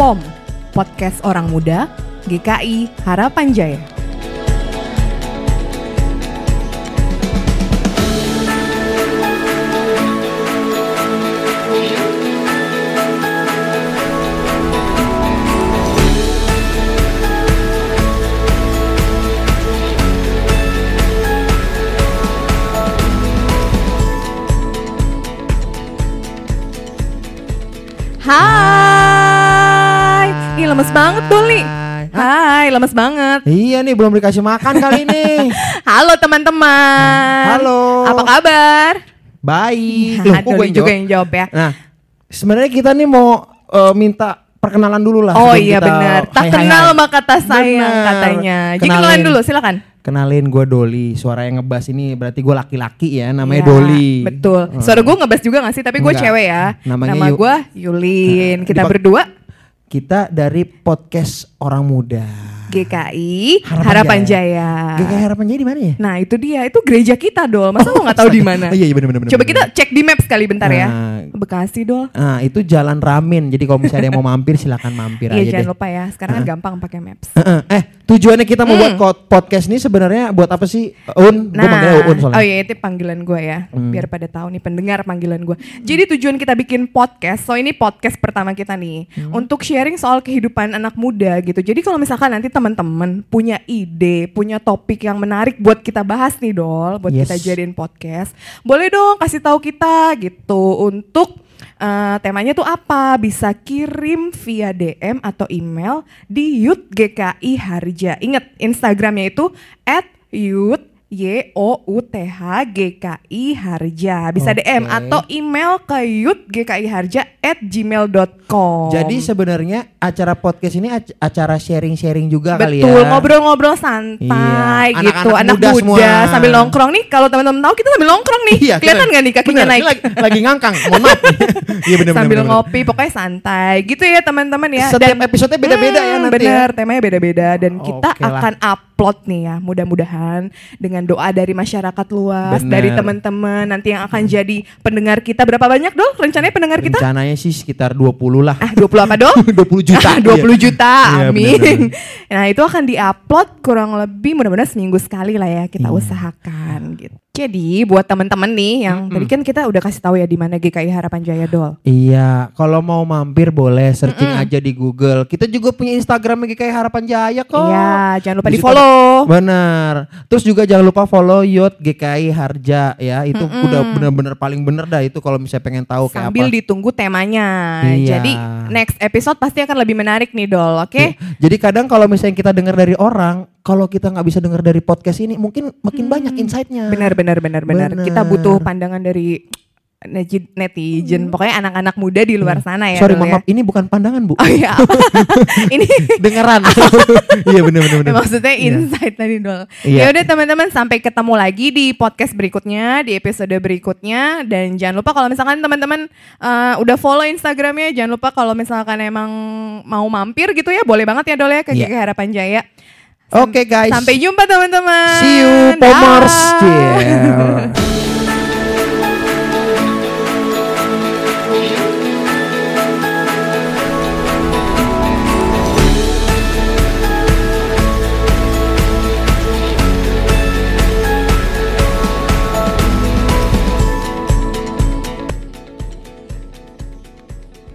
POM, Podcast Orang Muda, GKI Harapan Jaya. Hai, ini lemes banget tuh Li. Hai, lemes banget. Iya nih belum dikasih makan kali ini. Halo teman-teman. Halo. Apa kabar? Baik. Nah, kok ada gue Li juga jawab? yang jawab ya. Nah, sebenarnya kita nih mau eh, minta perkenalan dulu lah. Oh sebelum iya kita benar. Tak hai, hai, kenal hai. maka tak sayang Benar. katanya. Jadi Kenalin. kenalan dulu silakan. Kenalin gue Doli. Suara yang ngebas ini berarti gue laki-laki ya. Namanya Ya, Doli. Betul. Hmm. Suara gue ngebas juga gak sih? Tapi gue Enggak. cewek ya. Namanya Nama Yu- gue Yulin. Nah, Kita dipak- berdua Kita dari podcast orang muda. GKI Harapan, Harapan Jaya. GKI Harapan Jaya di mana ya? Nah itu dia, itu gereja kita dol. Masa lo gak tahu di mana? Oh, Iya iya benar-benar. Coba kita cek di map sekali bentar ya. Nah. Bekasi dol. Nah, itu jalan ramen. Jadi kalau misalnya ada yang mau mampir silakan mampir Iya aja deh. jangan lupa ya. Sekarang kan gampang pakai maps. Heeh. Eh, tujuannya kita mau Hmm. buat ko- podcast ini sebenarnya buat apa sih? Un, gue manggilnya Un soalnya. Hmm. oh iya itu panggilan gue ya, biar pada tahu nih pendengar panggilan gue. Jadi tujuan kita bikin podcast, so ini podcast pertama kita nih, Hmm. untuk sharing soal kehidupan anak muda gitu. Jadi kalau misalkan nanti teman-teman punya ide, punya topik yang menarik buat kita bahas nih dol, buat Yes. kita jadiin podcast, boleh dong kasih tahu kita gitu untuk eh, temanya tuh apa? Bisa kirim via DM atau email di Youth GKI Harja. Ingat Instagramnya itu @youth Y O U T H G K I Harja. Bisa Oke. DM atau email ke youthgkiharja@gmail.com. Jadi sebenarnya acara podcast ini ac- acara sharing-sharing juga kali ya. Betul, ngobrol-ngobrol santai Iya, gitu. anak-anak Anak muda muda, semua. sambil nongkrong nih. Kalau teman-teman tahu kita sambil nongkrong nih. Iya, Kelihatan keren. nggak nih kakinya Bener, naik? ini Lagi, lagi ngangkang, mohon maaf. Iya benar sambil ngopi pokoknya santai gitu ya teman-teman ya Hmm, Setiap episodenya beda-beda ya nanti ya. bener temanya beda-beda dan Oke kita lah. akan upload nih ya mudah-mudahan dengan doa dari masyarakat luas Bener. dari teman-teman nanti yang akan jadi pendengar kita berapa banyak dong rencananya pendengar kita Rencananya sih sekitar 20 lah. ah 20 apa dong 20 juta. Ah, 20 Iya. juta, Iya, amin. bener-bener. Nah itu akan diupload kurang lebih mudah-mudahan seminggu sekali lah ya kita Iya. usahakan gitu. Jadi buat teman-teman nih yang tadi kan kita udah kasih tahu ya di mana GKI Harapan Jaya Dol. Iya, kalau mau mampir boleh searching aja di Google. Kita juga punya Instagram GKI Harapan Jaya kok. Iya, jangan lupa di Di situ- follow. Benar. Terus juga jangan lupa follow Yot GKI Harja ya. Itu udah bener-bener paling bener dah itu kalau misalnya pengen tahu kayak sambil apa. ditunggu temanya. Iya. Jadi next episode pasti akan lebih menarik nih Dol, oke? Iya. Jadi kadang kalau misalnya kita dengar dari orang, kalau kita nggak bisa dengar dari podcast ini, mungkin makin banyak insight-nya. Benar benar benar benar. Iya. Benar. Kita butuh pandangan dari neti- netizen, pokoknya anak-anak muda di luar sana ya. Hmm. Iya. Sorry, Dol, mohon ya. maaf, ini bukan pandangan bu, Oh iya. apa? Ini dengeran. Iya benar-benar. benar. maksudnya Iya. insight tadi Dol. Iya. Ya udah teman-teman sampai ketemu lagi di podcast berikutnya, di episode berikutnya dan jangan lupa kalau misalkan teman-teman eh, udah follow Instagramnya, jangan lupa kalau misalkan emang mau mampir gitu ya, boleh banget ya Dol ya ke Iya. GKI Harapan Jaya. Oke guys, Sampai jumpa teman-teman. see you, Pomers. Dah. Ciao.